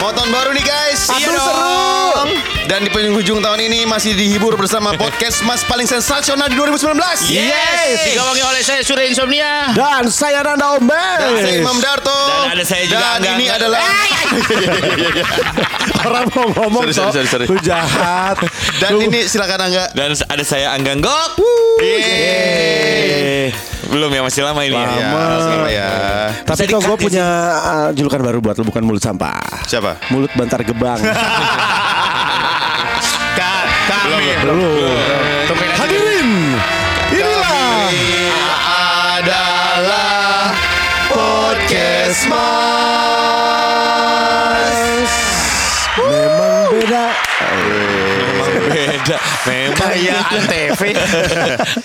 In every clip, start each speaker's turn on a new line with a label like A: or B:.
A: Mau tahun baru nih guys.
B: Aduh,
A: Iya
B: seru.
A: dong. Dan di penghujung tahun ini masih dihibur bersama podcast Mas paling sensasional di 2019.
B: Yes.
C: Yes. Digawangi oleh saya Surya Insomnia.
B: Dan saya Nanda Ombes.
A: Dan Saya Imam Darto.
C: Dan ada saya juga,
A: Dan
C: enggak,
A: ini
C: enggak.
A: adalah
B: Orang mau ngomong
A: Sorry,
B: Sok.
A: sorry, sorry, sorry.
B: Lu jahat.
A: dan
B: Lu-
A: ini silakan Angga. Iya,
C: Dan ada saya Anggang Gok. Eh, Belum ya masih lama ini.
A: Ya,
C: Ya.
A: sama ya.
B: Tapi
C: Bisa
B: kok gue
C: di-cut ya,
B: punya uh, julukan baru buat lu bukan mulut sampah.
A: Siapa?
B: Mulut bantar gebang.
A: Ka- Kami.
B: Lu.
A: Tungguin aja.
B: Hadirin. Inilah
A: adalah podcast Mas.
B: memang beda.
C: Beda. Memang
D: Kayak Antv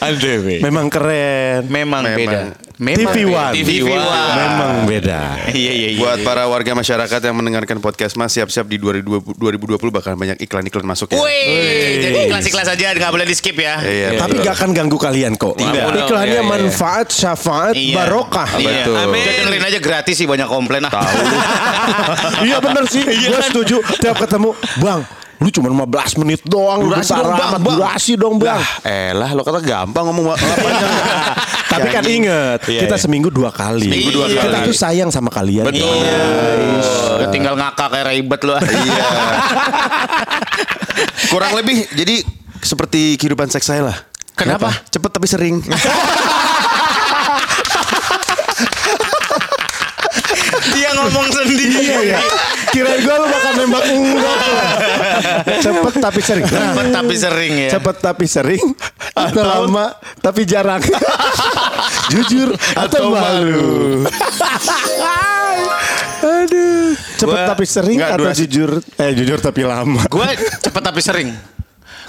C: Antv.
B: Memang keren.
D: Memang
A: Memang.
D: beda Memang
B: TV
D: beda.
B: One.
D: TV One
B: Memang beda.
D: Iya iya iya
A: Buat para warga masyarakat yang mendengarkan podcast Mas siap-siap di 2020 2020 bakal banyak iklan-iklan masuk ya.
D: Wih, jadi kelas-kelas aja nggak boleh di skip ya.
A: Iya,
B: Tapi
A: betul.
B: gak akan ganggu kalian kok.
C: Tidak.
B: Iklannya
C: Iya, iya.
B: manfaat, syafaat,
D: Iya.
B: barokah.
D: Iya.
A: Betul.
D: Amin. Udah dengerin aja gratis sih banyak komplain ah.
B: Iya bener sih, gue setuju. Tiap ketemu, bang, lu cuma 15 menit doang.
A: Durasi
B: bentar
A: dong, Bang,
B: amat,
A: Bang."
B: Durasi dong, bang.
A: Elah lo kata gampang ngomong apa gitu.
B: Tapi kan inget,
C: Iya,
B: kita
C: iya.
B: seminggu dua kali.
A: Seminggu dua
B: Kita
A: kali.
B: tuh sayang sama kalian.
C: Betul.
D: Udah tinggal Iya. ngakak kayak ribet lu.
A: Iya.
D: Eh.
A: Kurang lebih jadi seperti kehidupan seks saya lah.
D: Kenapa?
A: Cepet tapi sering.
D: Dia ngomong sendiri.
B: Iya ya. Kirain gue lu bakal nembak enggak. Cepet tapi sering. Nah,
D: Cepet tapi sering ya.
B: Cepet tapi sering atau lama tapi jarang. Jujur atau,
A: Atau
B: malu. Aduh. Cepet
D: Gua-
B: tapi sering
A: Enggak,
B: atau
A: durasi-
B: jujur eh jujur tapi lama.
D: Gue cepet tapi sering.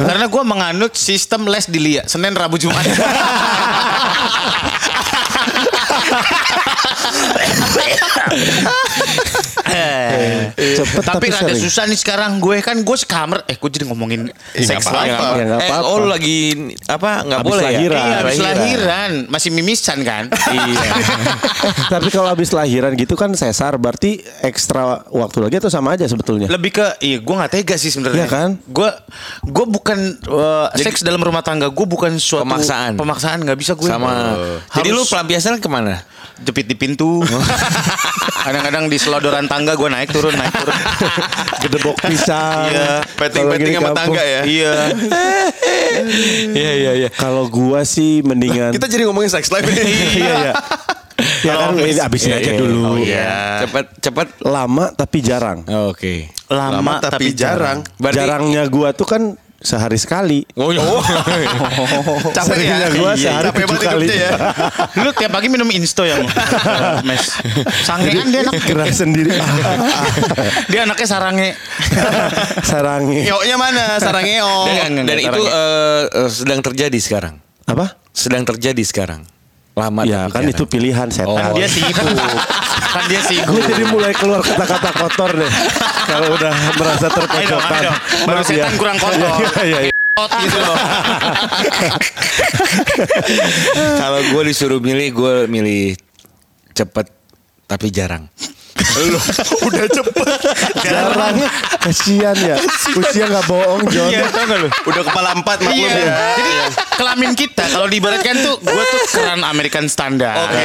D: Karena gue menganut sistem les di Lia Senin, Rabu, Jumat Eh,
B: Cepet tapi,
D: Tapi rada
B: sering.
D: susah nih sekarang Gue kan gue sekamar Eh gue jadi ngomongin seks
A: apa-apa,
D: lagi.
B: Ya, nggak
C: eh,
B: apa-apa.
C: oh lu lagi apa nggak
B: Habis
C: boleh
B: lahiran.
C: ya?
D: Iya habis
C: lahiran.
D: lahiran Masih mimisan kan
C: Iya.
B: tapi kalau habis lahiran gitu kan sesar berarti ekstra waktu lagi atau sama aja sebetulnya?
D: lebih ke iya gue nggak tega sih sebenarnya
B: Iya kan?
D: gue gue bukan uh, seks dalam rumah tangga gue bukan suatu
C: Pemaksaan.
D: pemaksaan nggak bisa gue
C: Sama. Jadi lu
D: harus
C: pelampiasan kemana?
D: jepit di pintu kadang-kadang di selodoran tangga gue naik turun naik turun
B: Gedebok pisang.
D: Iya,
B: Kalau lagi di
A: Petting-petting sama
B: kampung.
A: tangga ya.
D: iya
C: Iya iya iya.
B: Kalau gua sih mendingan
A: Kita jadi ngomongin seks life.
B: Iya ya. Ya kan ini abisin aja dulu.
D: iya.
A: Iya.
D: Ya.
C: Cepat cepat.
B: Lama tapi jarang.
C: Oh, Oke.
D: lama,
A: Lama tapi jarang.
C: Berarti-
B: Jarangnya gua tuh kan sehari sekali.
C: Oh, iya.
B: Seringnya gua
A: Iya,
B: sehari
A: capek
B: tujuh
A: banget
B: kali.
A: hidupnya ya.
D: lu tiap pagi minum insto ya mes sanggean dia anak
B: Gerak sendiri.
D: dia anaknya sarange Iya.
B: Sarangi.
A: Ngeoknya mana? Sarang ngeok.
D: Enggak, enggak,
C: Dan, dan
D: enggak,
C: itu
D: orangnya.
C: eh, eh, sedang terjadi sekarang.
B: Apa?
C: Sedang terjadi sekarang. Lama
B: Ya kan
C: tapi jarang. Oh.
B: itu pilihan
D: kan
B: setan.
D: dia sibuk kan dia sibuk
B: Lu jadi mulai keluar kata-kata kotor deh. Kalau udah merasa
D: Ayo dong,
B: terpojokan.
D: ayo dong. Baru
B: Maaf
D: setan kurang kotor.
B: Iya, iya, iya.
A: eh,
D: Tot gitu loh
C: Kalau gue disuruh milih, gue milih cepet tapi jarang.
A: Udah cepet.
B: Jarang. Kasian ya. Usia nggak bohong John.
A: tau gak lu? Udah kepala empat maklum
D: Iya.
A: ya.
D: Jadi kelamin kita kalau diibaratkan tuh gue tuh keran American standar. Oke.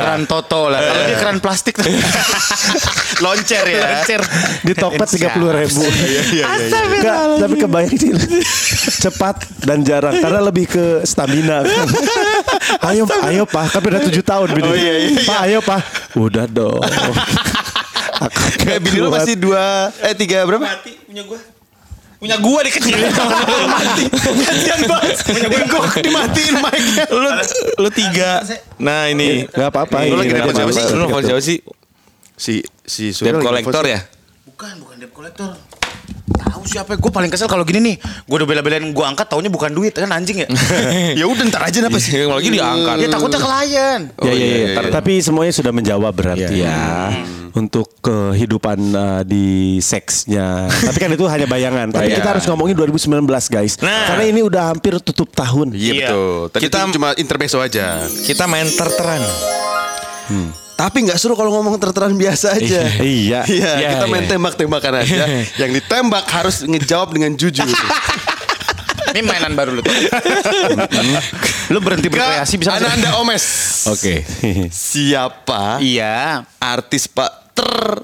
D: Keran Toto lah. Kalau dia keran plastik tuh.
A: Loncer ya.
D: Lancer.
B: Di topet tiga puluh ribu.
A: Iya, iya, iya.
B: Nggak, tapi kebayang sih cepat dan jarang karena lebih ke stamina. ayo, ayo pak, kan udah tujuh tahun bini.
A: Oh, iya, iya.
B: Pak, ayo pak, udah dong. Aku
A: Kayak Eh, bini lu masih dua, eh tiga berapa?
D: Punya gue dikecilin. Mati. Kasian banget. Punya gue dimatiin mic-nya.
C: Lu lu tiga. Nah ini.
B: Gak apa-apa.
A: Lu lagi
B: ini
A: nelfon siapa
B: nama-
A: sih?
C: Lu nelfon siapa sih?
A: Si si
C: Debt
A: lagi
C: collector
A: nelfon.
C: ya?
D: Bukan, bukan debt collector. Tahu siapa? Gue paling kesel kalau gini nih. Gue udah bela-belain gue angkat taunya bukan duit kan anjing ya.
A: Ya udah ntar aja
C: Apa
A: napa
C: sih?
A: sih?
C: Lagi diangkat.
D: Ya takutnya klien.
A: Oh,
B: Ya, ya,
C: iya,
B: ya. Tapi semuanya sudah menjawab berarti
C: Iya.
B: ya
A: Hmm.
B: untuk kehidupan eh, di seksnya. Tapi kan itu hanya bayangan. Tapi kita
C: Bayangan.
A: Iya.
B: harus ngomongin 2019 guys.
C: Nah.
B: Karena ini udah hampir tutup tahun.
A: Iya betul. Tadi
C: Kita-
A: itu cuma intermezzo aja.
C: Kita main terteran.
A: Tapi nggak seru kalau ngomong terteran biasa aja.
B: Iya.
A: Iya,
C: Iya,
A: kita main
C: iya.
A: tembak-tembakan aja. Yang ditembak harus ngejawab dengan jujur.
D: Ini mainan baru lu tuh. lu berhenti berkreasi bisa nggak sih?
A: Ananda Omes.
C: Oke.
A: Siapa
D: Iya.
A: artis Pak ter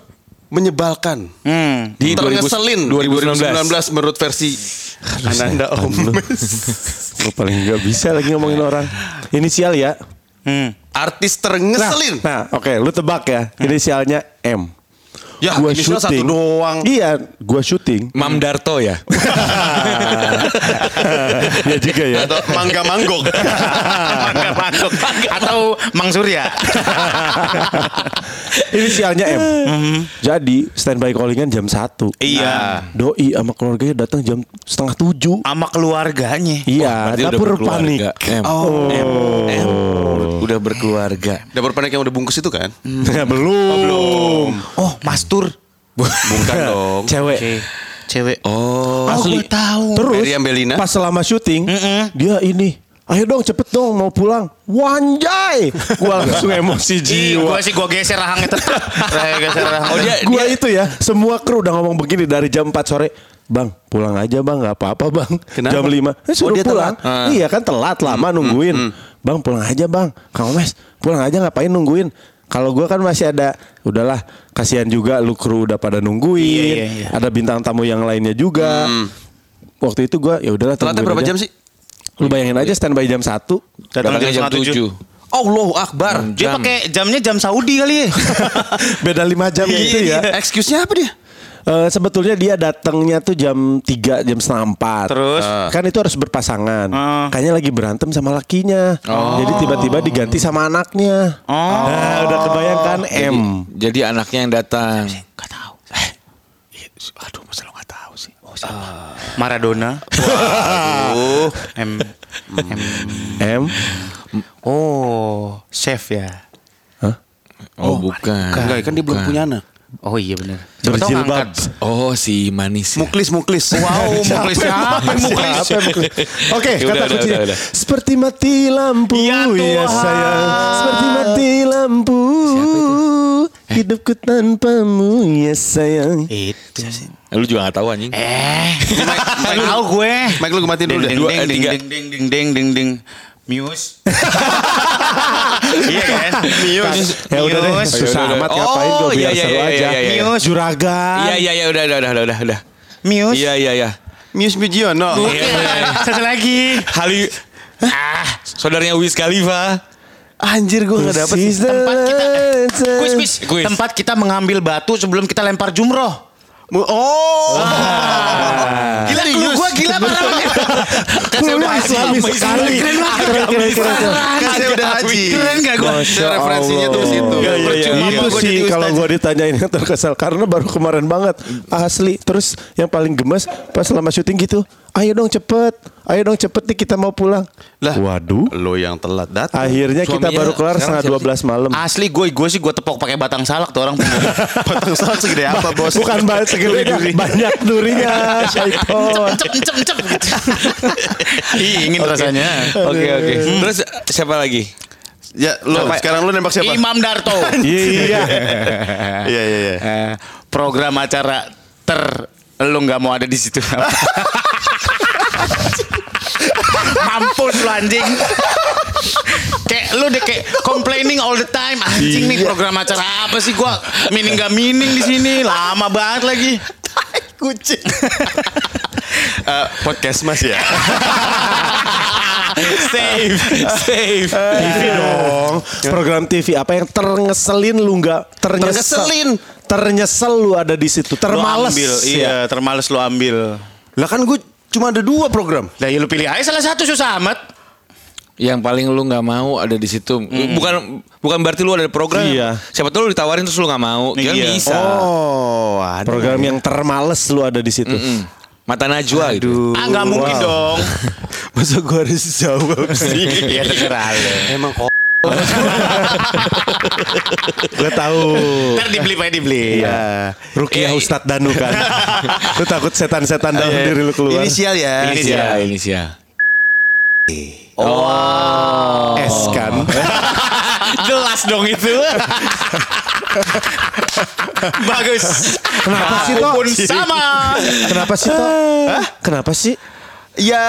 A: menyebalkan?
D: Hmm.
C: Di 2000
A: Terngeselin 2019 menurut versi Ananda Omes.
B: Gue paling nggak bisa lagi ngomongin orang. Inisial ya.
D: Hmm.
A: Artis
B: Nah,
A: terngeselin.
B: nah oke lu tebak ya. Inisialnya M.
A: Hmm. Ya, inisial satu doang.
B: Iya, gua syuting.
C: Mam Darto ya.
B: ya juga ya.
A: Atau mangga manggok.
D: Mangga Mangkok. Atau Mang Surya.
B: Inisialnya M. Jadi standby callingan jam 1.
D: Iya.
B: Doi sama keluarganya datang jam setengah tujuh.
D: Sama keluarganya.
B: Iya,
C: Berarti udah
B: dapur panik.
C: berkeluarga. M.
B: Oh,
C: M. Udah berkeluarga.
A: Dapur panik yang udah bungkus itu kan?
B: belum.
D: Oh, Mastur.
A: Bukan dong.
B: Cewek.
D: Cewek.
C: Oh.
D: Oh, gue tahu.
B: Terus
A: Mary Ambelina.
B: pas selama syuting dia ini Ayo dong cepet dong mau pulang Wanjay Gua langsung emosi
D: Ih,
B: jiwa
D: gue sih gue geser rahangnya tetap. Rahang geser rahang.
C: Oh, dia-
B: Gua itu ya Semua kru udah ngomong begini dari jam 4 sore Bang pulang aja bang gak apa-apa bang
A: Kenapa?
B: Jam 5 eh, Suruh
A: Oh, dia
B: pulang
A: telat. Hmm,
B: Iya kan telat lama nungguin Bang pulang aja bang Kang Omes pulang aja ngapain nungguin kalau gua kan masih ada udahlah kasihan juga lu kru udah pada nungguin
D: Iya, iya, iya.
B: ada bintang tamu yang lainnya juga waktu itu gua ya udahlah
A: Hmm. Telatnya
B: tungguin
A: berapa
B: aja.
A: jam sih?
B: Lu bayangin aja standby jam 1
D: Datangnya
C: Datangnya jam
D: jam setengah tujuh.
C: 7.
A: Allahu Akbar.
D: Dia pakai jamnya jam Saudi kali ya.
B: Beda 5 jam
A: Iya,
B: gitu ya
A: iya. Excuse-nya apa dia?
B: Eh, Sebetulnya dia datangnya tuh jam 3 Jam setengah 4
D: Terus?
B: Kan itu harus berpasangan
D: Ah.
B: Kayaknya lagi berantem sama lakinya Jadi tiba-tiba diganti sama anaknya
D: Oh.
B: Nah udah kebayangkan M
C: Jadi anaknya yang datang.
D: Gak tahu. Aduh, masa lo gak tahu sih? Oh, siapa? Maradona. Waduh. M. M.
B: M
D: Oh, chef ya.
C: Oh, bukan.
A: Enggak, kan dia belum
C: Bukan.
A: punya anak.
D: Oh iya benar.
B: Berjilbab
C: Oh, si manis. ya.
A: Muklis, muklis.
D: Wow, muklis siapa yang muklis?
B: Apa yang muklis? Oke
C: Ya udah,
B: kata
C: udah,
B: kuncinya
C: udah, udah.
B: Seperti mati lampu
D: Ya
B: Ya
D: Tuhan.
B: sayang Seperti mati lampu Hidupku tanpamu Ya sayang
D: Itu.
C: Lu juga gak tahu anjing.
D: Eh, nggak tahu gue.
A: Mike lu matiin dulu deh.
D: Ding
C: Dua,
D: ding
C: eh,
D: ding
C: tiga.
D: ding ding ding ding ding ding. Muse. Iya kan? Muse.
B: Ya udah deh,
D: Muse.
B: susah
C: Ayo, udah,
B: amat
C: udah.
B: ngapain gue
C: Oh,
B: biar
C: iya,
B: seru
C: iya,
B: aja.
C: iya, iya,
D: iya.
B: Mius. Juragan.
C: Iya, iya, iya, udah, udah, udah, udah, udah, udah.
D: Muse.
C: Iya, iya, iya.
A: Muse Mujiono.
D: Satu lagi.
C: Hali ah, saudaranya Wiz Khalifa.
A: Anjir gue gak dapet.
B: She's the
D: Tempat kita
B: dancer.
D: Kuis, kuis.
C: Kuis.
D: Tempat kita mengambil batu sebelum kita lempar jumroh.
A: Mu- Oh.
D: Gila clue
A: Serius?
D: gue gila parah banget. Kan saya
B: Lu
D: udah haji.
B: islami
D: Keren
B: sekali.
D: banget.
B: Keren, keren, keren, keren.
A: Kan saya udah haji.
D: Keren gak gue?
B: Masya
A: Referensinya tuh
B: Allah.
A: situ.
B: Iya, iya, iya.
A: Percuma
B: Itu
A: gua
B: sih
A: jadi ustaz.
B: kalau gue ditanyain yang terkesal karena baru kemarin banget asli. Terus yang paling gemes pas selama syuting gitu, ayo dong cepet, ayo dong cepet nih kita mau pulang.
A: Lah.
B: waduh.
A: Lo yang telat datang.
B: Akhirnya kita
C: Suaminya
B: baru kelar
C: sekarang
B: setengah
C: siapa
B: dua belas malam.
D: Asli gue gue sih gue tepok pakai batang salak tuh orang.
A: Batang saat segede apa bos?
B: Bukan banyak segede banyak durinya, Syaitol.
D: Encep encep encep gitu. Oh. Ih, ingin rasanya.
C: Oke, oke.
A: Hmm.
C: Terus siapa lagi?
A: Ya lo sekarang lo nembak siapa?
D: Imam Darto.
B: Iya.
A: Iya iya iya.
D: Eh, program acara ter lu nggak mau ada di situ. Mampus lu anjing. kayak lu deh kayak complaining all the time anjing
A: Iya.
D: nih program acara apa sih gua mining gak mining di sini lama banget lagi.
A: Kucing. Eh, podcast mas ya.
D: Safe, safe.
A: Eh.
B: TV
D: Iya.
B: dong. iya. Program TV apa yang terngeselin lu nggak ternyesel?
A: Terngeselin.
B: Ternyesel lu ada di situ.
D: Lu
B: Termales. Ya.
D: ambil, iya, termales lu ambil.
A: Lah kan gue cuma ada dua program.
D: Lah ya lu pilih aja salah satu susah amat.
C: Yang paling lu nggak mau ada di situ. Hmm. Bukan bukan berarti lu ada di program.
B: Iya.
C: Siapa tahu lu ditawarin terus lu nggak mau. Kan
D: Iya.
C: bisa.
A: Oh, ada.
B: Program yang termales lu ada di situ.
C: Mm. Mata Najwa gitu.
D: Ah nggak mungkin dong.
A: Masa gue harus jawab sih?
D: Iya terserah lu.
A: Emang kok.
B: Gue tahu.
A: Oh.
D: Ntar dibeli pak dibeli.
B: Iya. Rukiah
C: Iya, iya.
B: Ustadz Danu kan. lu takut setan-setan dalam diri lu keluar.
A: Inisial ya.
C: Inisial, Iya. inisial.
A: Oh.
B: S kan.
D: Jelas dong itu. Bagus.
B: Kenapa sih,
D: Aku
B: Tok?
D: pun sama.
B: Kenapa sih toh? Kenapa sih?
A: Ya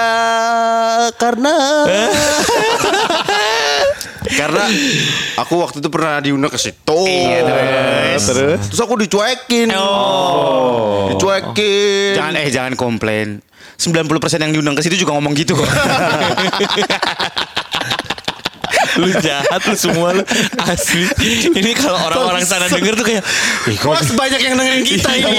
A: karena karena aku waktu itu pernah diundang ke situ. Iya, ya. terus. terus. aku dicuekin. Oh. Dicuekin.
D: Jangan eh jangan komplain. 90% yang diundang ke situ juga ngomong gitu kok.
C: lu jahat lu semua lu asli ini kalau orang-orang sana denger tuh kayak "Ih, kok Iya,
A: Mas banyak yang dengerin kita ini.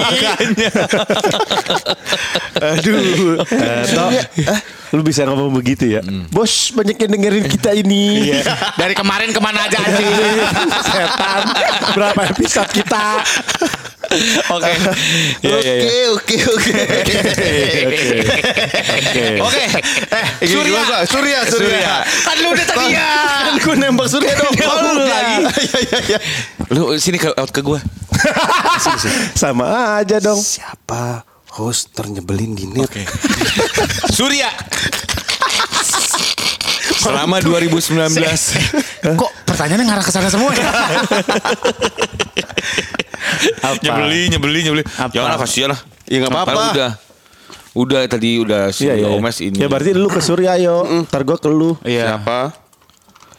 B: Aduh. Eh, lu bisa ngomong begitu ya? Bos banyak yang dengerin kita ini.
A: Iya.
D: Iya. Dari kemarin kemana aja anjing.
B: Setan. Berapa episode kita?
C: oke Ya, ya, ya.
A: Oke, oke, oke. Oke. Eh, Surya.
D: Surya.
A: Surya, Surya.
C: Surya.
D: Kan lu udah tadi ya.
A: Kan gue nembak Surya dong.
D: Nembak
A: Baru
D: lu
A: dia.
D: lagi.
A: Iya, iya, iya.
C: lu sini ke out ke gua
B: Sama aja dong.
A: Siapa host ternyebelin di net?
C: Surya selama 2019
D: Kok pertanyaannya ngarah ke sana semua ya?
C: nyebeli nyebeli nyebeli ya lah kasihan lah
A: Ya, nggak apa-apa.
C: Padahal udah udah tadi udah si
B: Iya, iya.
C: Omes ini
B: Ya berarti lu ke Surya yo. Ntar gua ke lu.
A: Siapa?
D: Iya.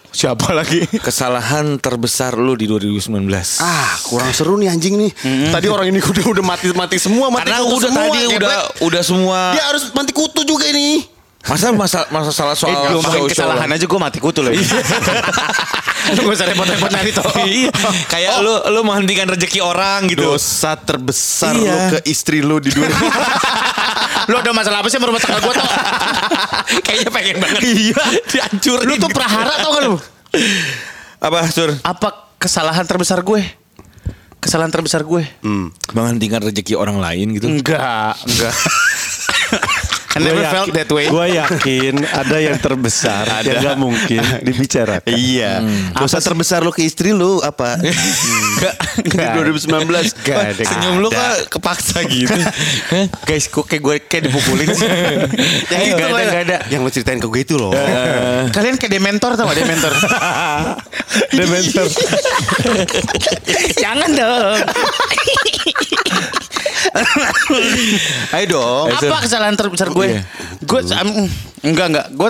D: Siapa lagi?
C: kesalahan terbesar lu di 2019
A: Ah, kurang seru nih anjing nih. Tadi orang ini udah udah mati-mati semua, mati
C: karena
A: kutu
C: udah
A: semua.
C: tadi
A: geblek.
C: udah udah semua
A: Dia harus mati kutu juga ini.
C: masa masalah masalah soal
D: Eh, belum
C: soal-
D: makin kesalahan aja gue mati kutu lagi. lu gak usah repot-repot nyari toh.
C: Iya, kayak lu lu menghentikan rezeki orang gitu.
A: Dosa terbesar
C: Iya.
A: lu ke istri lu di dunia.
D: Lu ada masalah apa sih sama rumah tangga gue toh?
C: Kayaknya pengen banget. Iya, dihancur.
D: Lu tuh prahara tau gak lu?
C: apa, Sur?
D: Apa kesalahan terbesar gue? Kesalahan terbesar gue?
C: Menghentikan rezeki orang lain gitu.
D: Hmm. Enggak, enggak. I
B: Gua
D: never
B: yakin-
D: felt that way.
B: Gua yakin ada yang terbesar yang gak mungkin dibicarakan. Hmm.
A: iya. Dosa terbesar lu ke istri lu apa?
C: Enggak.
A: Di 2019.
D: Gak ada.
C: Senyum lu kok kepaksa gitu.
D: Guys, kok kayak gue kayak dipukulin sih. Yang
A: Yang itu
D: gak ada,
A: lah.
D: gak ada.
A: Yang lu ceritain ke gue itu loh.
D: Kalian kayak dementor tau gak dementor?
B: Dementor.
D: Jangan dong.
A: Ayo dong.
C: Eh,
D: Apa
C: Sir.
D: kesalahan terbesar gue?
C: Iya.
D: Gue um, enggak enggak. Gue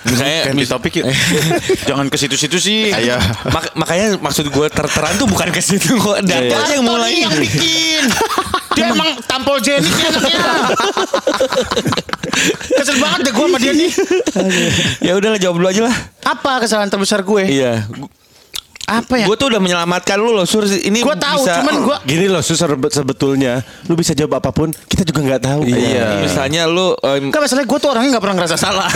C: Misalnya
D: ganti topik yuk. Jangan ke situ-situ sih.
A: Ayo.
C: Iya. mak- makanya maksud gue terteran tuh bukan ke situ kok. Dato
D: Dato
C: aja Iya. yang mulai.
D: nih yang bikin. Dia emang tampol jenis nih anaknya. Kesel banget deh gue sama dia nih.
C: ya udahlah jawab dulu aja lah.
D: Apa kesalahan terbesar gue?
C: Iya.
D: Apa ya?
C: Gue tuh udah menyelamatkan lu loh, Sur. Ini
D: Gue tahu,
C: bisa-
D: cuman gue
B: Gini loh Sus serbe- sebetulnya lu bisa jawab apapun kita juga nggak tahu.
C: Iya. Misalnya lu em,
D: Enggak masalah gue tuh orangnya gak pernah ngerasa salah.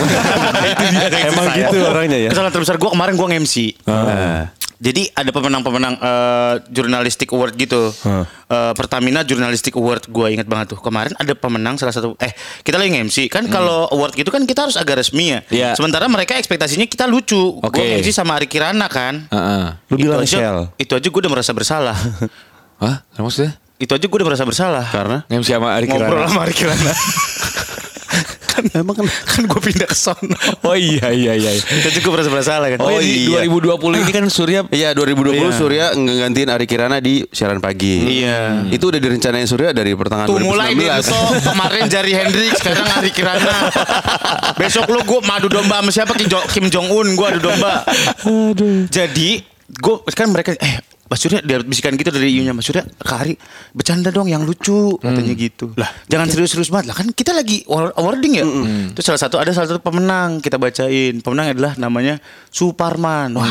B: Emang gitu orangnya ya.
D: Kesalahan terbesar gue kemarin gue nge-MC. Nah, Jadi ada pemenang-pemenang eh, jurnalistik award gitu. Eh, Pertamina Jurnalistic Award gue inget banget tuh. Kemarin ada pemenang salah satu eh kita lagi nge-MC kan kalau award gitu kan kita harus agak resmi ya.
C: Iya.
D: Sementara mereka ekspektasinya kita lucu.
C: Oke.
D: Gue nge-MC sama Ari Kirana kan.
C: Heeh.
B: Lu bilang
D: itu
B: Shell.
D: aja, itu aja gue udah merasa bersalah.
C: Hah? Maksudnya?
D: itu aja gue udah merasa bersalah. Karena
C: MC sama Ari Kirana.
D: ngobrol sama Ari Kirana. kan emang kan, kan gue pindah ke sono.
C: Oh iya iya iya.
D: Itu juga merasa bersalah kan.
C: Oh,
A: Oh, iya.
C: iya. 2020 ini kan Surya
A: Iya 2020
D: Iya.
A: Surya ngegantiin Ari Kirana di siaran pagi.
D: Iya.
A: Itu udah direncanain Surya dari pertengahan
D: Tuh
A: 2019.
D: mulai deh lu tuh. kemarin jari Hendrik sekarang Ari Kirana. Besok lu gue madu domba sama siapa Kim Jong, Kim Jong Un gue adu domba. Jadi gue kan mereka eh Mas Surya dia bisikan gitu dari iunya Mas Surya Kak Ari bercanda dong yang lucu katanya gitu lah jangan serius-serius banget lah kan kita lagi award- awarding ya terus salah satu ada salah satu pemenang kita bacain pemenang adalah namanya Suparman wah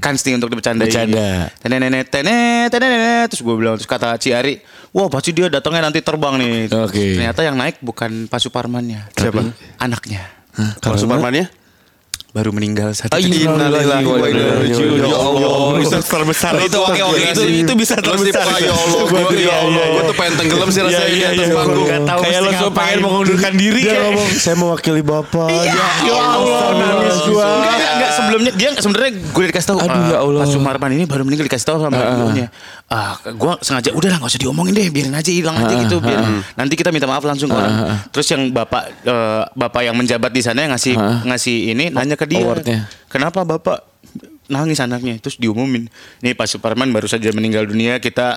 D: kan sih untuk dibercandain
C: Bercanda.
D: tenenet tenet tenenet terus gue bilang terus kata Ci Ari wah pasti dia datangnya nanti terbang nih Terus
C: Oke.
D: ternyata yang naik bukan Pak Suparmannya
A: Siapa?
D: anaknya
A: Kalau Suparmannya?
D: baru meninggal saat
C: Ayo,
D: itu.
A: Innalillahi wa inna ilaihi raji'un.
C: Ya Allah.
A: Bisa terbesar
C: Itu oke oke itu itu bisa terbesar.
A: Lu sih, ya Allah,
C: Gua
A: gue ya
C: iya,
A: Allah,
C: iya,
A: gue
C: iya.
A: tuh pengen tenggelam sih
C: Iya,
A: rasanya di
C: iya,
A: atas
C: iya.
A: panggung.
D: Gak tahu
C: Kayak
D: mesti
C: lo semua
D: ngapain.
C: pengen mengundurkan diri
B: Dia
C: kayak.
B: ngomong saya mewakili bapak. Ya,
D: Ya Allah,
B: nangis gua.
D: Enggak, enggak, enggak. sebelumnya dia sebenarnya gue dikasih tahu.
C: Aduh, ya
D: ah,
C: Allah. ah,
D: Pak Sumarman ini baru meninggal dikasih tahu sama ibunya. Ah, gue sengaja udah lah nggak usah diomongin deh, biarin aja hilang aja
C: Ah,
D: gitu. Biar nanti kita minta maaf langsung ke orang. Terus yang bapak eh, bapak yang menjabat di sana yang ngasih ngasih ini nanya ke dia.
C: Ah, Oh, Awardnya.
D: Kenapa bapak nangis anaknya? Terus diumumin. Nih Pak Suparman baru saja meninggal dunia. Kita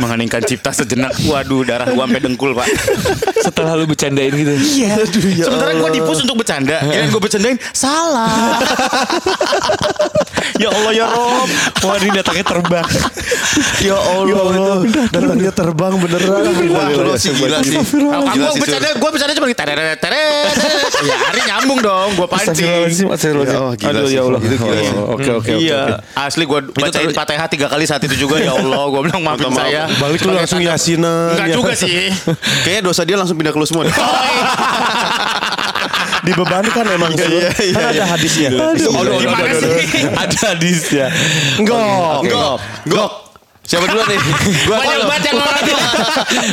D: mengeningkan cipta sejenak. Waduh, darah gua sampai dengkul, Pak.
C: Setelah lu bercandain gitu.
D: Iya.
B: ya
D: Sementara gue dipus untuk bercanda. Kirain gue bercandain, salah. ya Allah ya Rob.
C: Wah ini datangnya terbang.
B: Ya Allah, datangnya terbang beneran.
D: Wah, lo sih gila sih. Kalau kamu
A: Gila sih, Sur.
D: bercanda, gue bercanda cuma gitu. Tereret, tereret, tereret. Ya, Ari nyambung dong, gue pancing.
B: Astagfirullahaladzim, astagfirullahaladzim.
A: Ya, oh, gila
B: Aduh
A: sih.
B: ya Allah.
A: Itu gila sih.
B: Oh, Oke oke oke.
D: Iya, asli gue bacain patehah tiga kali saat itu juga ya Allah, gue bilang maafin
A: Minta maaf.
D: saya.
B: Balik lu langsung Ya, yasinan.
D: Enggak juga sih.
A: Kayaknya dosa dia langsung pindah ke lu semua. deh.
B: Dibebankan emang Sur.
A: iya, iya,
B: Kan ada
A: iya.
B: hadisnya.
D: Aduh,
C: Aduh,
D: gimana
C: aduh,
D: sih?
C: Ada hadisnya.
B: Ya. Enggak.
A: Gok, gok.
C: Siapa dulu nih? Gua apa
D: Banyak
C: lo?
D: banget yang marah tuh.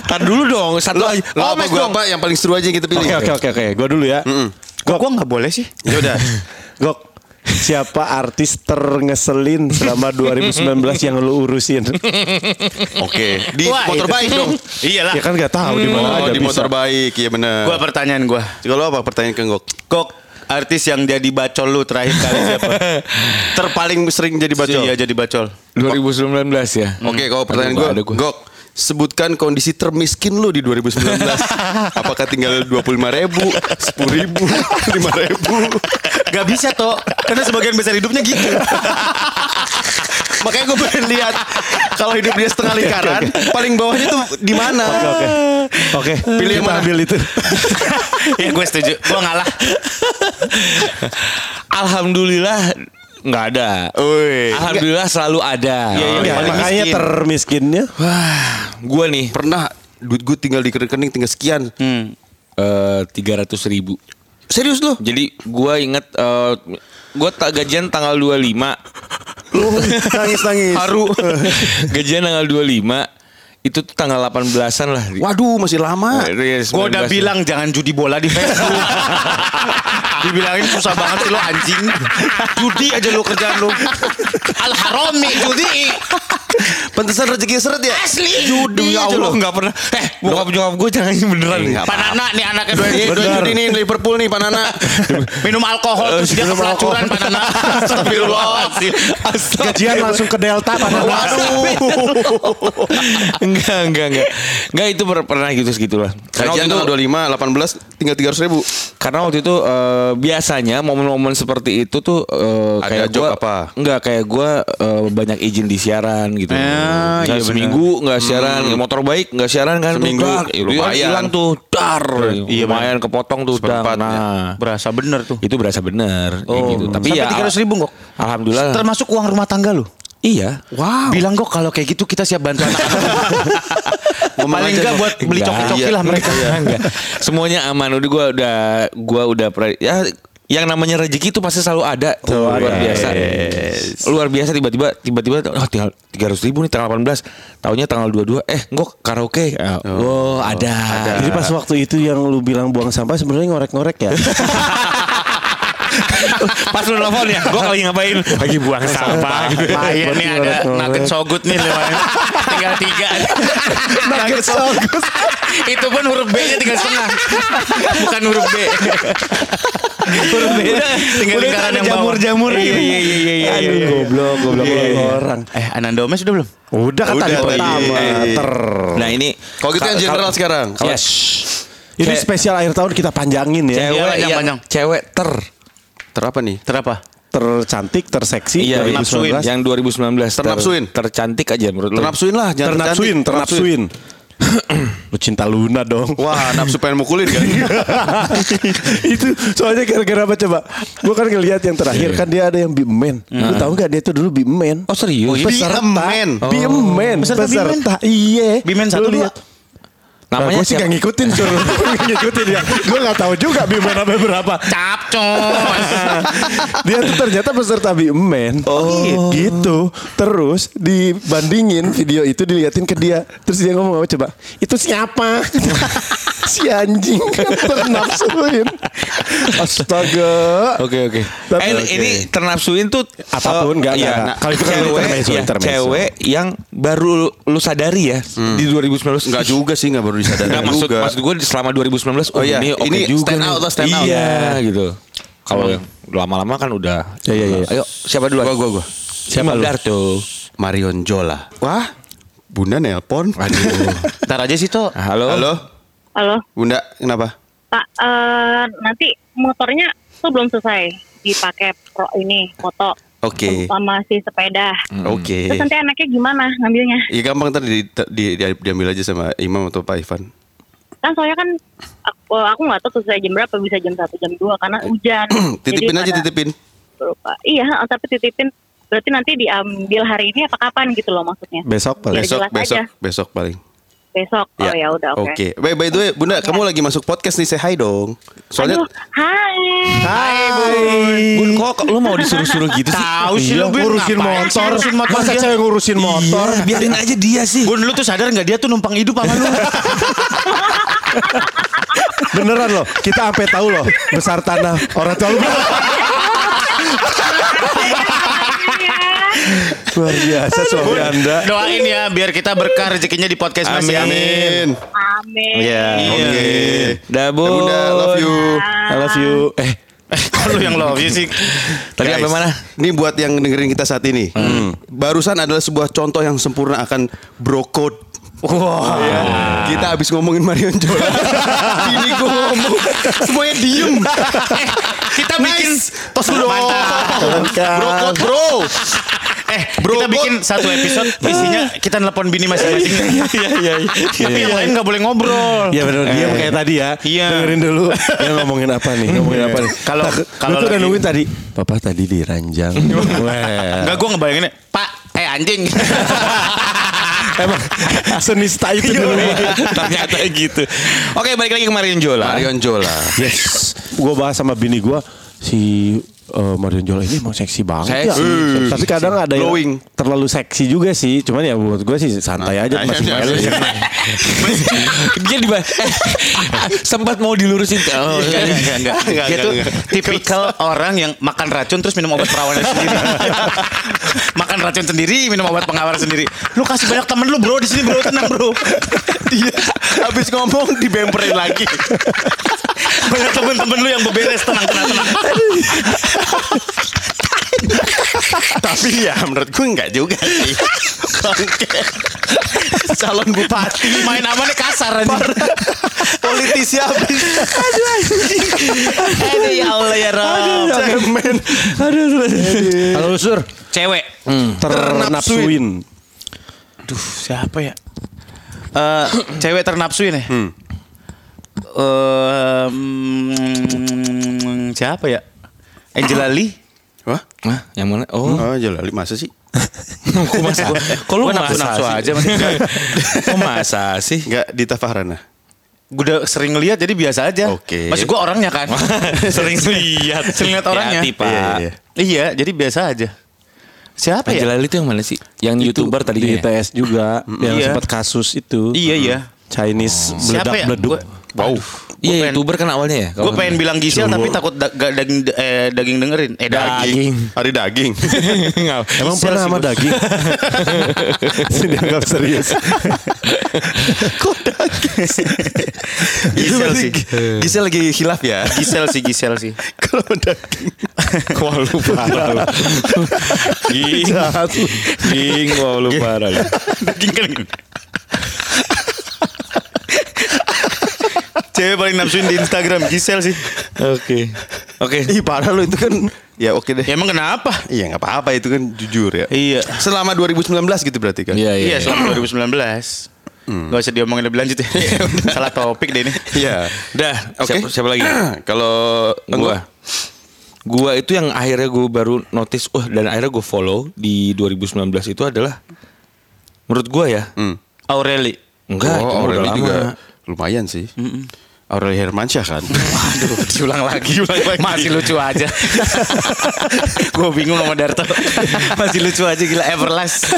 C: Tar dulu dong. Satu aja.
A: Lo
C: Oh,
A: apa Hmm,
C: Mas
A: gue
C: dong.
A: apa yang paling seru aja yang kita pilih.
B: Oke oke oke oke. Gua dulu ya.
D: Kok gue nggak boleh sih?
A: Ya udah.
B: Gok. Siapa artis terngeselin selama 2019 yang lu urusin?
A: Oke. Di
D: Wah,
A: motor
D: itu. Iya
A: baik dong.
D: Iyalah.
B: Ya kan nggak tahu di mana
A: Oh,
B: aja
A: di
B: bisa.
A: motor baik. Iya benar.
D: Gue pertanyaan gue,
A: Kalau apa pertanyaan ke Gok?
D: kok artis yang jadi bacol lu terakhir kali siapa?
A: Terpaling sering jadi bacol.
D: Iya jadi bacol.
C: 2019 ya.
A: Oke, kalau pertanyaan
C: Aduh,
A: gue,
C: ada gua.
A: Gok, sebutkan kondisi termiskin lu di 2019. Apakah tinggal 25 ribu, 10 ribu, 5 ribu?
D: Gak bisa toh Karena sebagian besar hidupnya gitu
A: Makanya gue pengen lihat kalau hidup dia setengah lingkaran, paling bawahnya tuh di mana?
B: Oke oke. Oke.
A: Pilih yang
B: kita
A: mana?
B: ambil itu.
D: Ya gue setuju Gue ngalah
C: Alhamdulillah nggak ada.
A: Woi.
C: Alhamdulillah selalu ada.
D: Iya, iya.
B: Ya,
D: Paling
B: makanya
D: miskin.
B: termiskinnya
C: Gua nih
A: Pernah duit gue tinggal di rekening tinggal sekian.
D: Hmm.
C: eh, tiga ratus ribu.
A: Serius lu?
C: Jadi gua inget eh, gua tak gajian tanggal 25
A: Lu nangis-nangis.
C: Haru Gajian tanggal 25 Itu tuh tanggal 18an lah
A: Waduh, masih lama.
D: Gue udah bilang jangan judi bola di Facebook Dibilangin susah banget sih lo anjing Judi aja lo kerjaan lo Al harami judi
A: Pantesan rezekinya seret ya?
D: Asli Iya,
C: Demi
D: Judi aja
C: Allah
D: lo
C: nggak pernah Iya, Eh bokap Iya, nyokap gue jangan beneran
D: Panana nih anaknya dua
A: Ini judi nih Liverpool nih Panana.
D: Eh, Minum alkohol Terus dia
B: minum
D: kepelacuran
B: alkohol.
D: Panana Astagfirullahaladzim
B: gajian langsung ke Delta pada
C: Enggak enggak enggak Enggak itu per- pernah gitu segitulah Karena waktu
A: Gajian
C: itu,
A: tanggal 25, 18 tinggal 300 ribu.
C: karena waktu itu eh, Biasanya momen-momen seperti itu tuh eh,
A: Ada
C: kayak
A: joke
C: gua,
A: apa?
C: Enggak kayak gue Banyak izin di siaran gitu
D: Ah,
C: Kayak
D: iya Hmm.
C: Seminggu enggak siaran Motor baik enggak siaran kan
A: Seminggu,
C: Dar,
A: iya,
C: dia
A: lumayan.
C: Hilang tuh Dar
D: ya Iya,
C: Lumayan kepotong tuh dang.
A: Seperempatnya.
C: Nah
D: Berasa bener tuh
C: itu berasa bener kayak gitu. Tapi
D: Oh. Sampai
C: ya
D: 300 ribu kok
C: Alhamdulillah
D: Termasuk uang rumah tangga lo
C: Iya
D: Wow. Bilang kok kalau kayak gitu kita siap bantu anak-anak. Paling
A: aja
D: enggak
A: dong.
D: buat beli
C: Enggak.
D: coki-coki lah mereka.
C: Enggak. Semuanya aman. Udah gua udah gua udah pre- ya yang namanya rezeki itu pasti selalu ada
B: Tuh,
C: luar
B: ada.
C: biasa luar biasa tiba-tiba tiba-tiba oh tinggal tiga ratus ribu nih tanggal 18 tahunnya tanggal 22 eh ngok karaoke Ah, oh, ada,
B: Jadi pas waktu itu yang lu bilang buang sampah sebenarnya ngorek-ngorek ya.
C: pas lu nelfon ya ngok lagi ngapain lagi buang sampah
D: Bahaya nih ada nugget sogut nih lewat. Tinggal tiga. nugget sogut. Itu pun huruf B-nya tinggal setengah. Bukan huruf B. huruf B tinggal lingkaran yang bawah.
C: jamur iya iya iya iya, iya
B: Aduh
C: iya.
B: goblok, goblok
C: Iya, iya.
B: orang.
D: Eh, Ananda Omes udah belum?
B: Udah kan tadi
A: Udah,
B: pertama.
A: iya, iya.
B: Ter.
C: nah ini
A: Kalau gitu yang general sekarang. Kalau
C: yes
B: Ini
C: Kayak-
B: spesial akhir tahun kita panjangin ya.
C: cewek
D: panjang,
C: yang-
D: panjang.
C: cewek ter
A: terapa nih?
D: Terapa?
B: Tercantik, terseksi
C: Iya,
B: dari
D: nafsuin.
B: 2019.
C: yang 2019 ter-
A: Ternapsuin.
C: tercantik aja menurut lu.
A: Ternapsuin lah, jangan
B: Ternapsuin,
A: tercantik.
B: ternapsuin. Lu cinta Luna dong.
A: Wah, nafsu pengen mukulin kan?
B: itu soalnya gara-gara apa coba? Gue kan ngelihat yang terakhir kan dia ada yang bimen. Lu tahu nggak dia itu dulu bimen?
C: Iya. Oh
B: iya.
C: serius? Oh.
B: peserta
A: Bimen.
B: bimen, bimen.
D: Peserta Bimen.
B: iya.
D: Bimen satu
B: Lu-
D: lihat.
B: Nah,
C: Namanya
B: gua sih
C: siapa?
B: gak ngikutin sur Gua gak ngikutin ya Gue gak tahu juga Bimen apa berapa
D: Capcos.
B: Dia tuh ternyata peserta Bimen Oh Gitu Terus dibandingin video itu diliatin ke dia Terus dia ngomong apa coba Itu siapa si anjing ternafsuin. Astaga.
C: Oke oke.
B: Tapi-
C: Eh,
B: Oke.
C: Ini ternafsuin tuh
B: Apapun, nggak, nggak, nggak. Kalau
C: Kalau
B: itu kan
C: cewek,
B: intermezzo,
C: ya,
B: intermezzo.
C: cewek yang baru lu, lu sadari ya di 2019.
A: Enggak Hmm. juga sih, enggak baru disadari
C: Enggak maksud
A: juga.
C: maksud gue selama 2019 oh,
A: Oh, iya.
C: ini oke
A: Ini
C: juga.
A: stand
C: nih.
A: out lah, stand out. Hmm.
C: Iya gitu. Kalau yang lama-lama kan udah.
B: Ya, ya, ya.
C: Ayo siapa dulu?
A: Iya, Gua, gua, gua.
C: Siapa lu? tuh.
A: Marion Jola. Wah, Bunda nelpon.
D: Ntar aja sih tuh.
C: Nah, Halo.
A: Halo,
E: Halo,
A: Bunda, kenapa?
E: Pak. eh, nanti motornya tuh belum selesai dipakai pro ini foto.
A: Oke.
E: Sama si sepeda.
C: Hmm.
A: Oke.
E: Terus nanti anaknya gimana ngambilnya?
A: Ya gampang ntar di, di- di- diambil aja sama Imam atau Pak Ivan.
E: Kan soalnya kan aku aku nggak tahu selesai jam berapa bisa jam satu jam dua karena hujan.
A: Eh, titipin
E: Jadi
A: aja
E: pada-
A: titipin.
E: Lupa. Iya, tapi titipin berarti nanti diambil hari ini apa kapan gitu loh maksudnya?
B: Besok
E: Biar
B: paling.
A: Besok,
E: jelas
A: besok,
E: aja.
A: besok paling.
E: Besok. Oh
A: Iya.
E: ya udah oke.
A: By, by the way, Bunda, kamu lagi masuk podcast nih, say hi dong. Soalnya
E: Aduh, hai.
A: Hai,
B: Ah.
C: Bun kok lu mau disuruh-suruh gitu sih?
D: Tahu sih lu Bun,
B: Iya, ngurusin
D: ngapain
B: motor.
D: sih Iya. Ngurusin motor
B: Masa
D: dia.
B: cewek ngurusin motor?
C: Iya, biarin aja dia sih.
D: Bun lu tuh sadar nggak dia tuh numpang hidup sama lu?
B: Beneran loh, kita sampai tahu loh besar tanah orang tua lu luar biasa suami anda.
D: Doain ya biar kita berkah rezekinya di podcast Iya. Mas ya.
A: Amin. Eh,
E: Amin.
A: Iya, Oke.
C: Dah, Bun.
A: Bunda, love you.
B: I love you. Eh,
D: Kok lu yang love you sih?
C: Tadi
A: Guys,
C: sampai
E: Ah.
C: mana?
A: Ini buat yang dengerin kita saat ini. Hmm. Barusan adalah sebuah contoh yang sempurna akan bro code. Wah, kita habis ngomongin Marion Jola. ini gue ngomong, semuanya diem.
D: Eh, Kita bikin
A: tos dulu.
B: kan.
A: Bro code bro.
D: eh
A: Bro,
D: kita
A: bot.
D: bikin satu episode isinya kita nelpon bini masing-masing.
C: Iya iya
D: Tapi yang lain nggak boleh ngobrol.
B: Ya benar diam kayak tadi ya.
D: Iya.
B: Dengerin dulu. Ya ngomongin apa nih? Ngomongin apa nih?
D: Kalau-
B: Takut-
D: kalau
B: lu tuh udah
D: lagi-
B: nungguin tadi. Papa tadi di ranjang. Wah.
D: Enggak gue ngebayanginnya Pak, eh anjing.
B: Emang senista itu dulu.
C: Ternyata gitu. Oke, balik lagi kemarin Jola.
A: Marion Jola.
B: yes. Gua bahas sama bini gua si eh, Marion Jola ini emang seksi banget
C: Seksi.
B: ya. Tapi kadang ada yang
A: Glowing.
B: terlalu seksi juga sih. Cuman ya buat gua sih santai aja masih
A: Nah,
B: malu.
A: iya.
C: Dia di eh, sempat mau dilurusin. Oh,
D: Enggak, enggak, enggak, enggak, iya,
A: Dia
D: Dia
A: tuh
D: tuh tipikal orang yang makan racun terus minum obat perawan sendiri. makan racun sendiri, minum obat pengawar sendiri. Lu kasih banyak temen lu bro di sini bro, tenang bro. Dia Iya. habis ngomong dibemperin lagi. banyak temen-temen lu yang beberes tenang tenang tenang.
A: Tapi ya menurut gue enggak juga sih. Oke.
D: Calon bupati main amannya kasar aja.
A: Politisi habis.
D: Aduh ya Allah ya Rob.
A: Cemen.
B: Kalau lu sur
D: Cewek.
B: ternapsuin.
D: Duh, siapa ya? Eh, cewek ternapsuin ya?
C: Hmm.
D: Eh, mm, siapa ya? Angela Lee?
A: Wah,
C: Hah, yang mana? Oh,
A: oh, Jola, masa sih?
C: kok masa? Kok lu
D: Hmm? Gua nafsu-
C: masa
D: nafsu
C: sih? Iya.
D: aja, Mas.
C: Kok masa sih?
A: Enggak di Tafahrana.
D: Gue udah sering lihat jadi biasa aja.
A: Oke.
D: Maksud gue orangnya kan.
C: Sering lihat,
D: sering lihat orangnya.
C: Hati, Pak.
A: Iya, iya.
D: iya, jadi biasa aja. Siapa ya?
C: Angela Lee itu yang mana sih? Yang youtuber tadi
B: di
C: ya?
B: ITS juga yang
D: iya.
B: sempat kasus itu.
D: Iya, iya.
B: Chinese
D: Siapa ya?
B: meledak-meleduk.
D: Gua-
A: Wow.
D: pengen-
C: Iya, youtuber kan awalnya ya?
D: Gue pengen bilang Gisel tapi takut da- ga- daging eh, daging dengerin. Eh daging.
A: Daging. Hari daging.
B: Emang pernah sama daging? Sini dianggap serius.
D: Gisel
A: berarti
D: sih.
C: Iya.
A: Gisel lagi hilaf ya.
D: Gisel sih, Gisel sih.
A: Kalau daging.
C: Wah lu parah lu. Ging, ging, wah lu parah lu.
D: Daging kan. Cewek paling nafsuin di Instagram Gisel sih.
C: Oke. Oke.
A: Ih parah lu itu kan. Ya oke deh.
D: Ya emang kenapa?
A: Iya nggak apa-apa itu kan jujur ya.
D: Iya.
A: Selama 2019 gitu berarti kan.
C: Iya,
D: Iya,
C: iya.
D: selama 2019. Gak usah diomongin lebih lanjut ya. Salah topik deh ini.
A: Iya.
C: Dah,
A: Oke.
C: siapa, siapa lagi?
A: Kalau
C: Iya. gua. Gua itu yang akhirnya gue baru notice, wah dan akhirnya gue follow di 2019 itu adalah menurut gua ya.
D: Aureli.
C: Enggak, itu mah
A: Hmm. oh,
C: udah
A: Aureli
C: lama.
A: juga lumayan sih. Aureli Hermansyah kan.
D: Aduh, diulang lagi, diulang lagi. Masih lucu aja. gue bingung sama Darto. Masih lucu aja gila Everlast.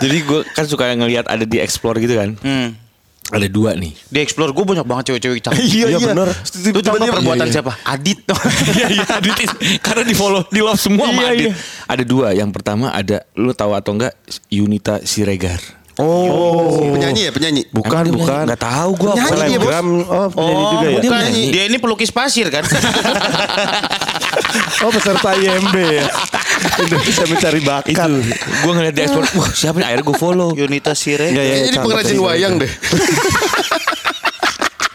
C: Jadi gue kan suka ngelihat ada di explore gitu kan.
D: Hmm.
C: Ada dua nih.
D: Di explore gue banyak banget cewek-cewek cantik.
B: Iya, iya.
D: bener.
B: Tiba-tiba-
D: Lu contoh
B: iya,
D: perbuatan
B: iya.
D: siapa? Adit.
C: Iya iya Adit is- karena di follow di love semua sama
D: Iya,
C: Adit.
D: iya.
C: Ada dua. Yang pertama ada lu tahu atau enggak Yunita Siregar.
B: Oh.
A: Penyanyi ya, penyanyi.
B: Bukan,
C: Emang dia
B: bukan.
C: penyanyi? Nggak tahu gua.
A: Penyanyi dia, Bos.
B: Selebgram. Oh, penyanyi
D: Oh,
B: juga ya.
D: bukan.
A: penyanyi.
D: Dia ini pelukis pasir kan?
B: Oh, peserta IMB ya. Indonesia mencari bakat.
C: Itu gue ngeliat di ekspor, wah siapa nih? Akhirnya gue follow.
D: Yunita Sire.
B: Iya,
C: Ya,
B: iya,
A: Ini
B: cakep,
A: pengrajin
B: iya.
A: wayang deh.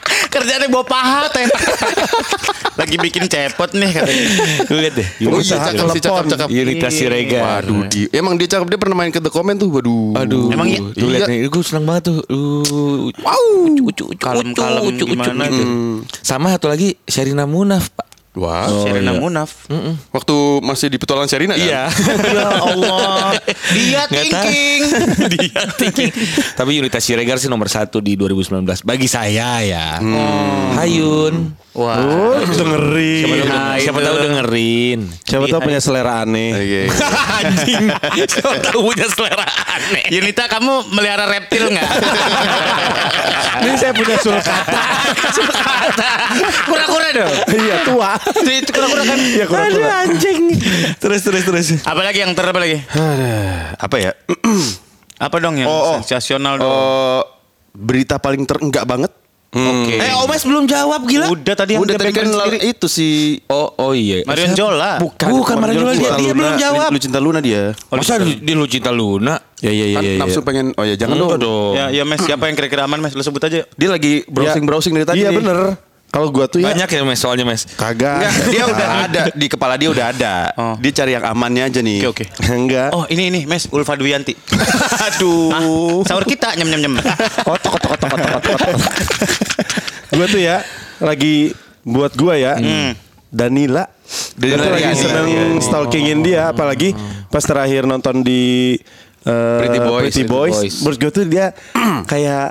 D: Kerjanya bawa paha teh. Lagi bikin cepot nih katanya.
C: Lu liat deh.
A: Oh
C: Yunita
A: iya,
B: Pengusaha
A: cakep sih, cakep,
B: telepon.
A: cakep.
B: iya,
C: Yunita Siregar.
A: Waduh, di- emang dia cakep. Dia pernah main ke The Comment tuh, waduh.
C: Aduh.
D: Emang iya?
C: Tuh liat nih, gue seneng banget tuh. Uh,
A: Wow.
D: Kalem-kalem gimana
C: gitu. Sama satu lagi Sherina Munaf, Pak.
A: Wah.
D: Serena Munaf.
A: Waktu masih di petualangan Sherina kan?
D: Mm. ya Allah. Dia
C: Nggak tahu.
D: thinking.
C: Dia thinking. Tapi Yunita Siregar sih nomor satu di 2019 bagi saya ya. Hayun.
D: Wah.
B: Oh, dengerin.
C: Siapa tahu,
D: Hai,
C: siapa
D: itu.
C: tahu dengerin.
B: Siapa tahu punya selera aneh.
A: Iya.
C: Anjing. Siapa tahu punya selera aneh.
D: Yunita kamu melihara reptil nggak?
B: Ini saya punya sulcata.
D: Kura-kura dong.
B: Iya, tua.
D: Itu kura-kura kan.
B: Iya,
C: Aduh,
B: kurang-kurang.
C: anjing. Terus terus terus.
D: Apalagi yang ter apa lagi?
A: Apa ya?
D: Apa dong yang
A: Oh, oh.
D: sensasional dong?
A: Eh, berita paling terenggak banget.
D: Oke.
C: Eh, Omes belum jawab gila.
D: Udah tadi yang
A: Udah
D: dia
A: tadi kan
D: pegang
A: lalu-
D: sendiri.
A: itu si
C: Oh, oh iya.
D: Marion Jola.
C: Bukan, bukan Marion Jola. Dia,
A: Cinta
C: dia
A: Luna.
C: belum jawab.
A: Lu cinta Luna dia.
C: Masa lu- dia lu cinta Luna?
B: Ya, ya, ya,
A: Kan
B: ya. ya.
A: nafsu pengen. Oh ya, jangan
C: Jangan
A: dong.
C: dong.
D: Ya, ya Mes, siapa yang kira-kira aman Mes? Lu sebut aja.
A: Dia lagi browsing-browsing dari tadi.
B: Iya,
A: nih.
B: bener. Kalau gua tuh ya
C: Banyak ya Mes soalnya Mes.
B: kagak.
A: Enggak, dia udah ada di kepala dia udah ada.
D: Iya. Oh.
A: Dia cari yang amannya aja nih.
D: Oke, oke.
B: Enggak.
D: Oh, ini ini Mes Ulfa Duyanti. Aduh. Sahur kita nyem nyem nyem.
B: kotok kotok kotok kotok kotok kotok. Gua tuh ya lagi buat gua ya. Danila
A: Hmm. Danila iya,
B: Gua tuh lagi
A: Riani.
B: seneng
A: Riani.
B: stalkingin dia apalagi pas terakhir nonton di eh,
A: Hmm. Pretty Boys.
B: Pretty
A: Pretty
B: Boys.
C: Boys.
B: Menurut gua tuh dia kayak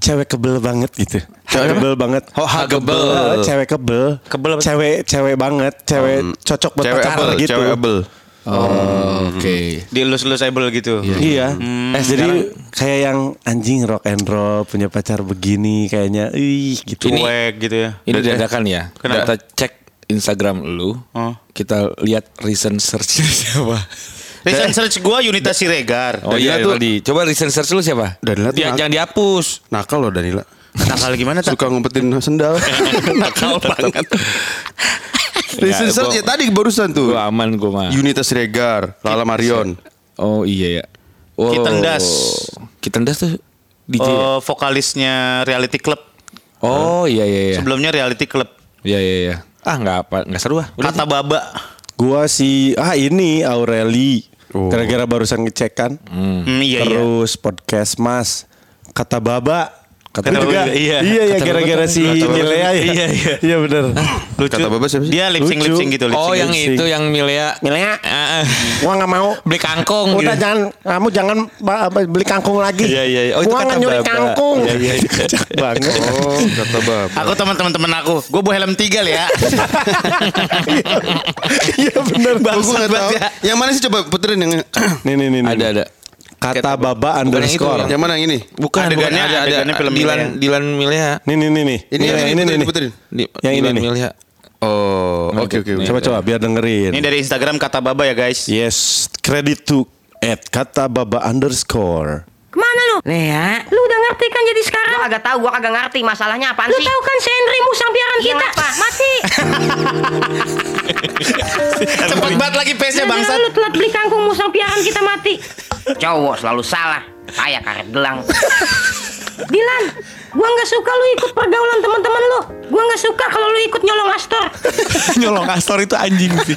B: cewek kebel banget gitu. Cewek kebel banget.
A: Oh, huggable.
B: Eh, cewek kebel.
D: Kebel apa?
B: Cewek cewek banget, cewek cocok buat
A: Hmm. Cewek
B: pacaran
A: abel,
B: gitu.
A: cewek abel.
C: Oh, oke.
D: Di lus lus able gitu.
B: Iya.
A: Hmm.
B: Eh, jadi kayak yang anjing rock and roll punya pacar begini kayaknya. Ih gitu.
D: Cuek gitu ya.
C: Ini dadakan ya.
D: Kenapa?
C: Kita cek Instagram lu.
D: Oh.
C: Kita lihat recent search siapa.
D: Recent search gua Yunita Siregar.
C: Oh iya tadi. Coba recent search lu siapa?
A: Danila tuh
C: Dia-
A: nak-
C: jangan dihapus.
A: Nakal loh Danila.
D: Nakal gimana tuh?
A: Suka ngumpetin sendal.
D: Nakal banget.
A: Listen
C: Enggak,
A: search
C: gua-
A: ya tadi barusan tuh.
C: Gua aman gua mah.
A: Yunita Siregar, Lala Marion.
C: Oh iya ya. Wow.
D: Kitendas.
C: Kitendas tuh DJ. ya?
D: Oh, vokalisnya Reality Club.
C: Oh iya iya iya.
D: Sebelumnya Reality Club.
C: Iya iya iya. Ah nggak apa nggak seru ah. Udah.
D: Kata Baba.
B: Gua si ah ini Aureli.
C: Oh.
B: Gara-gara barusan ngecek kan.
D: Hmm, iya iya.
B: Terus podcast Mas kata Baba. Kata
D: Kata
B: juga,
D: Baba, iya.
B: iya, ya
C: Kata
B: gara-gara
C: Baba, kan
B: si
C: kata Baba.
B: Milea ya.
C: Iya, iya.
B: iya benar.
D: Lucu.
A: Kata Baba siapa sih?
D: Dia lip sync lip sync
B: Lucu.
D: gitu. lip sync,
C: Oh yang
D: lip sync.
C: itu yang Milea.
B: Milea.
C: Ah, ah.
B: Gua nggak mau.
C: Beli kangkung.
B: Udah
C: gitu.
B: jangan kamu jangan ba- ba- beli kangkung lagi.
C: Iya, iya, iya. Oh, itu
B: Gua
C: kata
B: nggak nyuri
C: Baba.
B: kangkung.
C: Iya, iya, iya.
B: Kocak banget.
A: Oh, kata Bab.
D: Aku teman-teman teman aku, gue bawa helm tiga lah ya.
B: Iya benar.
A: Oh, gua nggak tahu.
D: banget ya.
A: Yang mana sih coba puterin yang
B: Nih nih nih. nih.
C: Ada ada.
B: Kata Baba
C: Bukan yang itu,
B: underscore.
A: yang mana yang ini?
C: Bukan
D: Adegannya-
C: bukan,
D: adegannya film
C: Dilan
D: Milea.
C: Dilan Milea.
B: Nih nih nih nih.
A: Ini,
B: Nih,
A: ini,
B: Iya, ini nih,
A: puterin,
B: nih.
A: puterin.
C: Di,
B: Yang ini
C: Dilan
B: nih.
C: Milea.
A: Oh, oke oke. oke.
B: Coba coba biar dengerin.
D: Ini dari Instagram kata Baba ya guys.
B: Yes, credit to at kata baba underscore.
F: Kemana lu? Lea Lu udah ngerti kan jadi sekarang? ya. Gua kagak tahu, gua kagak ngerti masalahnya apaan sih Iya, Lu tahu kan si Henry musang biaran kita apa? Mati
D: Cepet banget lagi pace-nya bangsat.
F: Gara-gara Lu telat beli kangkung musang biaran kita mati Cowok selalu salah Kayak karet gelang Dilan, gua nggak suka lu ikut pergaulan teman-teman lu. Gua nggak suka kalau lu ikut nyolong Astor.
C: Nyolong Astor itu anjing sih.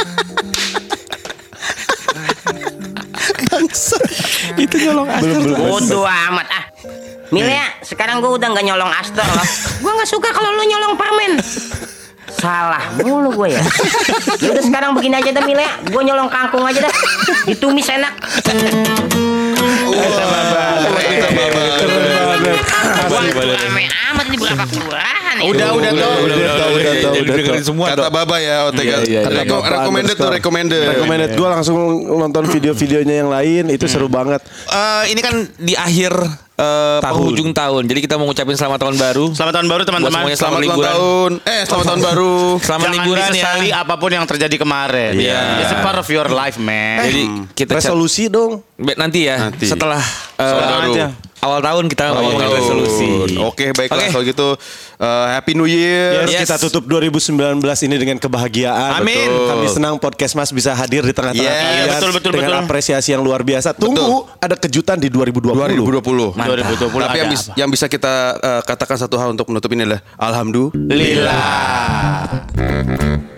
C: itu nyolong Astor.
F: Bodoh amat ah. Milea, sekarang gua udah nggak nyolong Astor loh. Gua nggak suka kalau lu nyolong permen. Salah mulu gue ya. Ya udah sekarang begini aja deh Milea, gue nyolong kangkung aja deh. Ditumis enak. Waduh, rame amat nih berapa kelurahan
A: Oh,
F: ya.
D: Udah udah tuh.
B: udah, udah, udah, udah, udah, udah,
C: dengerin semua.
A: Kata Baba ya, OTG.
C: Iya, iya, iya.
A: Reco-
B: Baba
A: recommended tuh,
B: underscore.
A: recommended.
B: Recommended. Gue langsung nonton video-videonya yang lain, itu seru banget.
C: Eh, ini kan ah, di akhir eh,
B: Tahun.
C: penghujung tahun. Jadi kita mau ngucapin selamat tahun baru.
D: Selamat tahun baru
C: Buat
D: teman-teman.
C: semuanya
A: Selamat
C: Selamat
A: ulang
C: liburan.
A: tahun. Eh, selamat tahun baru.
C: Selamat
D: Jangan
C: liburan ya.
D: disesali apapun yang terjadi kemarin.
C: Iya.
D: It's a part of your life, man.
C: Jadi kita cat-
B: Resolusi dong.
C: Be- nanti ya
A: Nanti.
C: setelah eh,
A: Tahun
D: Sekarang
A: baru.
D: aja.
C: awal tahun kita
A: Tahun.
C: ngomongin resolusi.
A: Oke, baiklah
C: Oke.
A: kalau gitu eh, Happy New Year.
B: Yes.
C: Yes.
B: Kita tutup 2019 ini dengan kebahagiaan.
C: Amin.
B: Betul. Kami senang podcast Mas bisa hadir di tengah-tengah
A: Yes.
B: kalian
D: Iya, betul, betul,
B: dengan
D: betul.
B: apresiasi yang luar biasa. Tunggu ada kejutan di 2020.
A: 2020.
D: Mantap. 2020
A: Tapi
D: ada
A: yang, bis- yang bisa kita eh, katakan satu hal untuk menutup ini adalah alhamdulillah.
D: Lila.